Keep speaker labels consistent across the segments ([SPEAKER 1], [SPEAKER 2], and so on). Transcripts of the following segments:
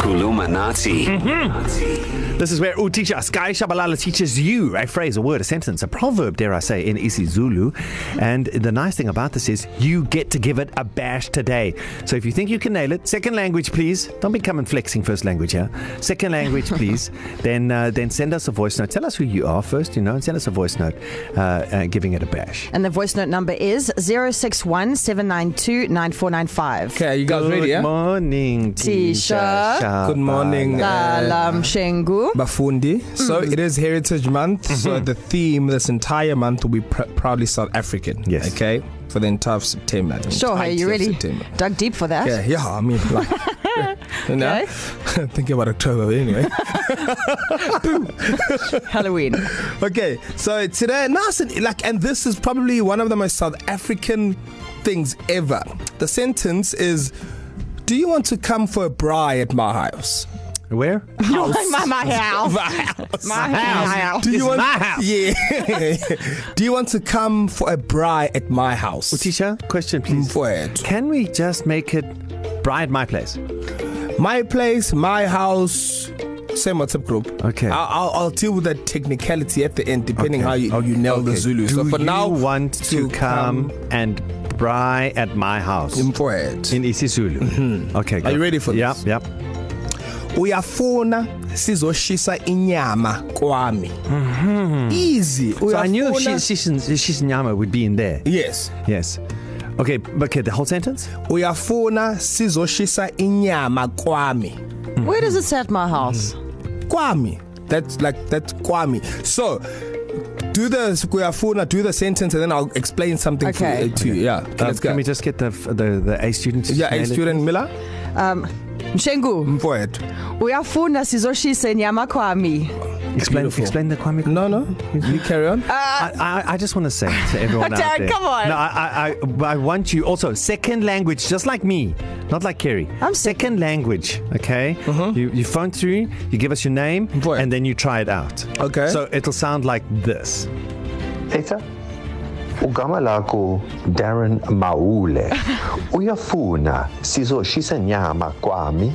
[SPEAKER 1] Kulumanati.
[SPEAKER 2] This is where Utisha Sky Shabalala teaches you a phrase, a word, a sentence, a proverb, dare I say, in isiZulu. And the nice thing about this is you get to give it a bash today. So if you think you can nail it, second language, please. Don't be coming flexing first language here. Second language, please. then uh, then send us a voice note. Tell us who you are first, you know, and send us a voice note uh, uh, giving it a bash.
[SPEAKER 3] And the voice note number is 061 792 9495.
[SPEAKER 4] Okay, are you guys
[SPEAKER 2] Good
[SPEAKER 4] ready? Yeah.
[SPEAKER 2] morning,
[SPEAKER 3] Tisha.
[SPEAKER 2] Tisha
[SPEAKER 4] Good morning. Uh-huh.
[SPEAKER 3] Salam Shengu.
[SPEAKER 4] Bafundi. So it is Heritage Month. So the theme this entire month will be pr- proudly South African.
[SPEAKER 2] Yes.
[SPEAKER 4] Okay. For the entire of September. the
[SPEAKER 3] Sure, hey,
[SPEAKER 4] entirety
[SPEAKER 3] you
[SPEAKER 4] of
[SPEAKER 3] really
[SPEAKER 4] September.
[SPEAKER 3] dug deep for that.
[SPEAKER 4] Yeah, yeah. I mean, like, you know,
[SPEAKER 3] Okay.
[SPEAKER 4] okay. thinking about October but anyway.
[SPEAKER 3] Halloween.
[SPEAKER 4] okay, so today, nice and like, and this is probably one of the most South African things ever. The sentence is, "Do you want to come for a braai at my house?"
[SPEAKER 2] Where?
[SPEAKER 3] House. my, my house.
[SPEAKER 4] My house.
[SPEAKER 3] My house. My house.
[SPEAKER 4] Do you
[SPEAKER 2] It's
[SPEAKER 4] want,
[SPEAKER 2] my house.
[SPEAKER 4] Yeah. Do you want to come for a braai at my house?
[SPEAKER 2] Utisha, question, please.
[SPEAKER 4] For it.
[SPEAKER 2] Can we just make it bride my place?
[SPEAKER 4] My place, my house. Same WhatsApp group.
[SPEAKER 2] Okay.
[SPEAKER 4] I'll, I'll, I'll deal with that technicality at the end, depending okay. how you, okay. you nail okay. the Zulu.
[SPEAKER 2] Do
[SPEAKER 4] so for
[SPEAKER 2] you
[SPEAKER 4] now,
[SPEAKER 2] want to, to come, come and bry at my house
[SPEAKER 4] come
[SPEAKER 2] in,
[SPEAKER 4] for it.
[SPEAKER 2] in isiZulu? Mm-hmm. Okay. Go.
[SPEAKER 4] you ready for
[SPEAKER 2] yep,
[SPEAKER 4] this?
[SPEAKER 2] Yep.
[SPEAKER 4] Uyafuna sizoshisa inyama kwami. Mm-hmm. Easy.
[SPEAKER 2] So I knew
[SPEAKER 4] Uyafuna-
[SPEAKER 2] Shishinyama would be in there.
[SPEAKER 4] Yes.
[SPEAKER 2] Yes. Okay. Okay. The whole sentence.
[SPEAKER 4] Uyafuna sizoshisa inyama kwami.
[SPEAKER 3] Where does it say at my house?
[SPEAKER 4] Kwami. That's like that's Kwami. So do the Kuyafuna, do the sentence, and then I'll explain something
[SPEAKER 3] Okay.
[SPEAKER 4] okay. to, uh, to okay. you. Yeah, okay, um, let's go.
[SPEAKER 2] Can we just get the the, the A student? to
[SPEAKER 4] yeah,
[SPEAKER 2] nail
[SPEAKER 4] a
[SPEAKER 2] it?
[SPEAKER 4] student Miller,
[SPEAKER 3] Um,
[SPEAKER 4] Mm.
[SPEAKER 3] Shengu,
[SPEAKER 4] for it.
[SPEAKER 3] uyafuna sizoshise nyama kwami.
[SPEAKER 2] Explain.
[SPEAKER 4] Beautiful.
[SPEAKER 2] Explain the Kwame.
[SPEAKER 4] No, no, you carry on.
[SPEAKER 2] I, I, I just want to say to everyone
[SPEAKER 3] Darren,
[SPEAKER 2] out there.
[SPEAKER 3] come on.
[SPEAKER 2] No, I, I, I, I want you also second language, just like me, not like Kerry.
[SPEAKER 3] I'm
[SPEAKER 2] second language. Okay, mm-hmm. you you phone through, you give us your name,
[SPEAKER 4] Boy.
[SPEAKER 2] and then you try it out.
[SPEAKER 4] Okay.
[SPEAKER 2] So it'll sound like this.
[SPEAKER 5] Peter, ugama lakho Darren Maule. Uyafuna sizoshisa nyama kwami?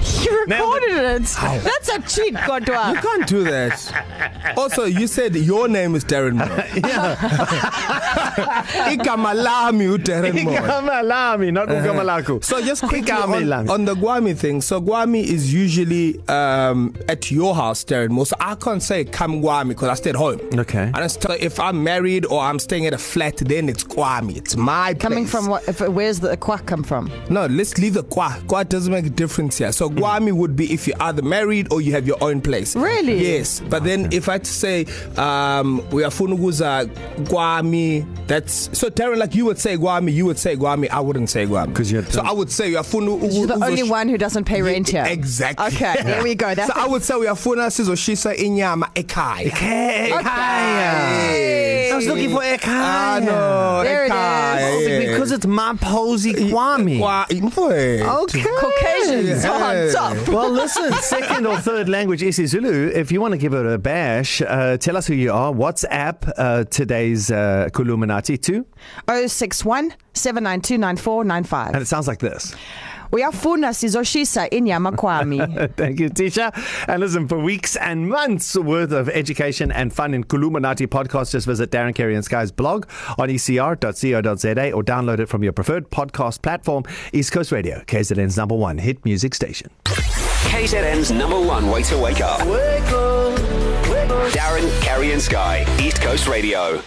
[SPEAKER 3] He recorded it.
[SPEAKER 2] Ow.
[SPEAKER 3] That's a cheat,
[SPEAKER 4] You
[SPEAKER 3] Kodwa.
[SPEAKER 4] can't do that. Also, you said your name is Darren Moore. Ikamalami, Darren Moore.
[SPEAKER 2] Ikamalami, not
[SPEAKER 5] Uh-huh.
[SPEAKER 2] ugamalako.
[SPEAKER 4] So just quickly on,
[SPEAKER 2] Ikamalami.
[SPEAKER 4] on the Guami thing. So Guami is usually um, at your house, Darren Moore. So I can't say come Guami because I stayed home.
[SPEAKER 2] Okay.
[SPEAKER 4] And it's- so if I'm married or I'm staying at a flat, then it's Kwami. It's my
[SPEAKER 3] Coming
[SPEAKER 4] place.
[SPEAKER 3] from what? If, where's the quack come from?
[SPEAKER 4] No, let's leave the Kwa. Kwa doesn't make a difference here. So
[SPEAKER 2] Mm.
[SPEAKER 4] Kwami would be if you're either married or you have your own place.
[SPEAKER 3] Really?
[SPEAKER 4] Yes. But then if I had to say um we are funuguza Kwami, that's so Darren, like you would say Kwami, you would say Kwami, I wouldn't say Kwami.
[SPEAKER 2] 'Cause you had
[SPEAKER 4] So
[SPEAKER 2] to-
[SPEAKER 4] I would say we are funu
[SPEAKER 3] You're the only one who doesn't pay rent here.
[SPEAKER 4] Exactly.
[SPEAKER 3] Okay, there we go. That's
[SPEAKER 4] so I would say we are funa sizoshisa inyama ekhaya.
[SPEAKER 2] Ekaya.
[SPEAKER 4] Okay.
[SPEAKER 2] I was looking for Ekaya.
[SPEAKER 4] Ah no,
[SPEAKER 3] There it
[SPEAKER 4] ekhaya,
[SPEAKER 3] is.
[SPEAKER 4] yeah.
[SPEAKER 2] Because it's my posy Kwame.
[SPEAKER 4] Kwa- mfowethu.
[SPEAKER 2] Okay.
[SPEAKER 3] Caucasians are on top.
[SPEAKER 2] Well, listen, second or third language isiZulu. If you want to give it a bash, uh, tell us who you are. WhatsApp uh, today's uh, Kuluminati too,
[SPEAKER 3] 061 792
[SPEAKER 2] and
[SPEAKER 3] 9495.
[SPEAKER 2] it sounds like this.
[SPEAKER 3] Uyafuna sizoshisa inyama kwami.
[SPEAKER 2] Thank you, Tisha. And listen, for weeks and months worth of education and fun in Kuluminati podcast, just visit Darren Carey and Sky's blog on E ecr.co.za or download it from your preferred podcast platform, East Coast Radio, KZN's number one hit music station.
[SPEAKER 1] KZN's number one way to wake up. Wake up. Wake up. Darren, Carrie, and Sky. East Coast Radio.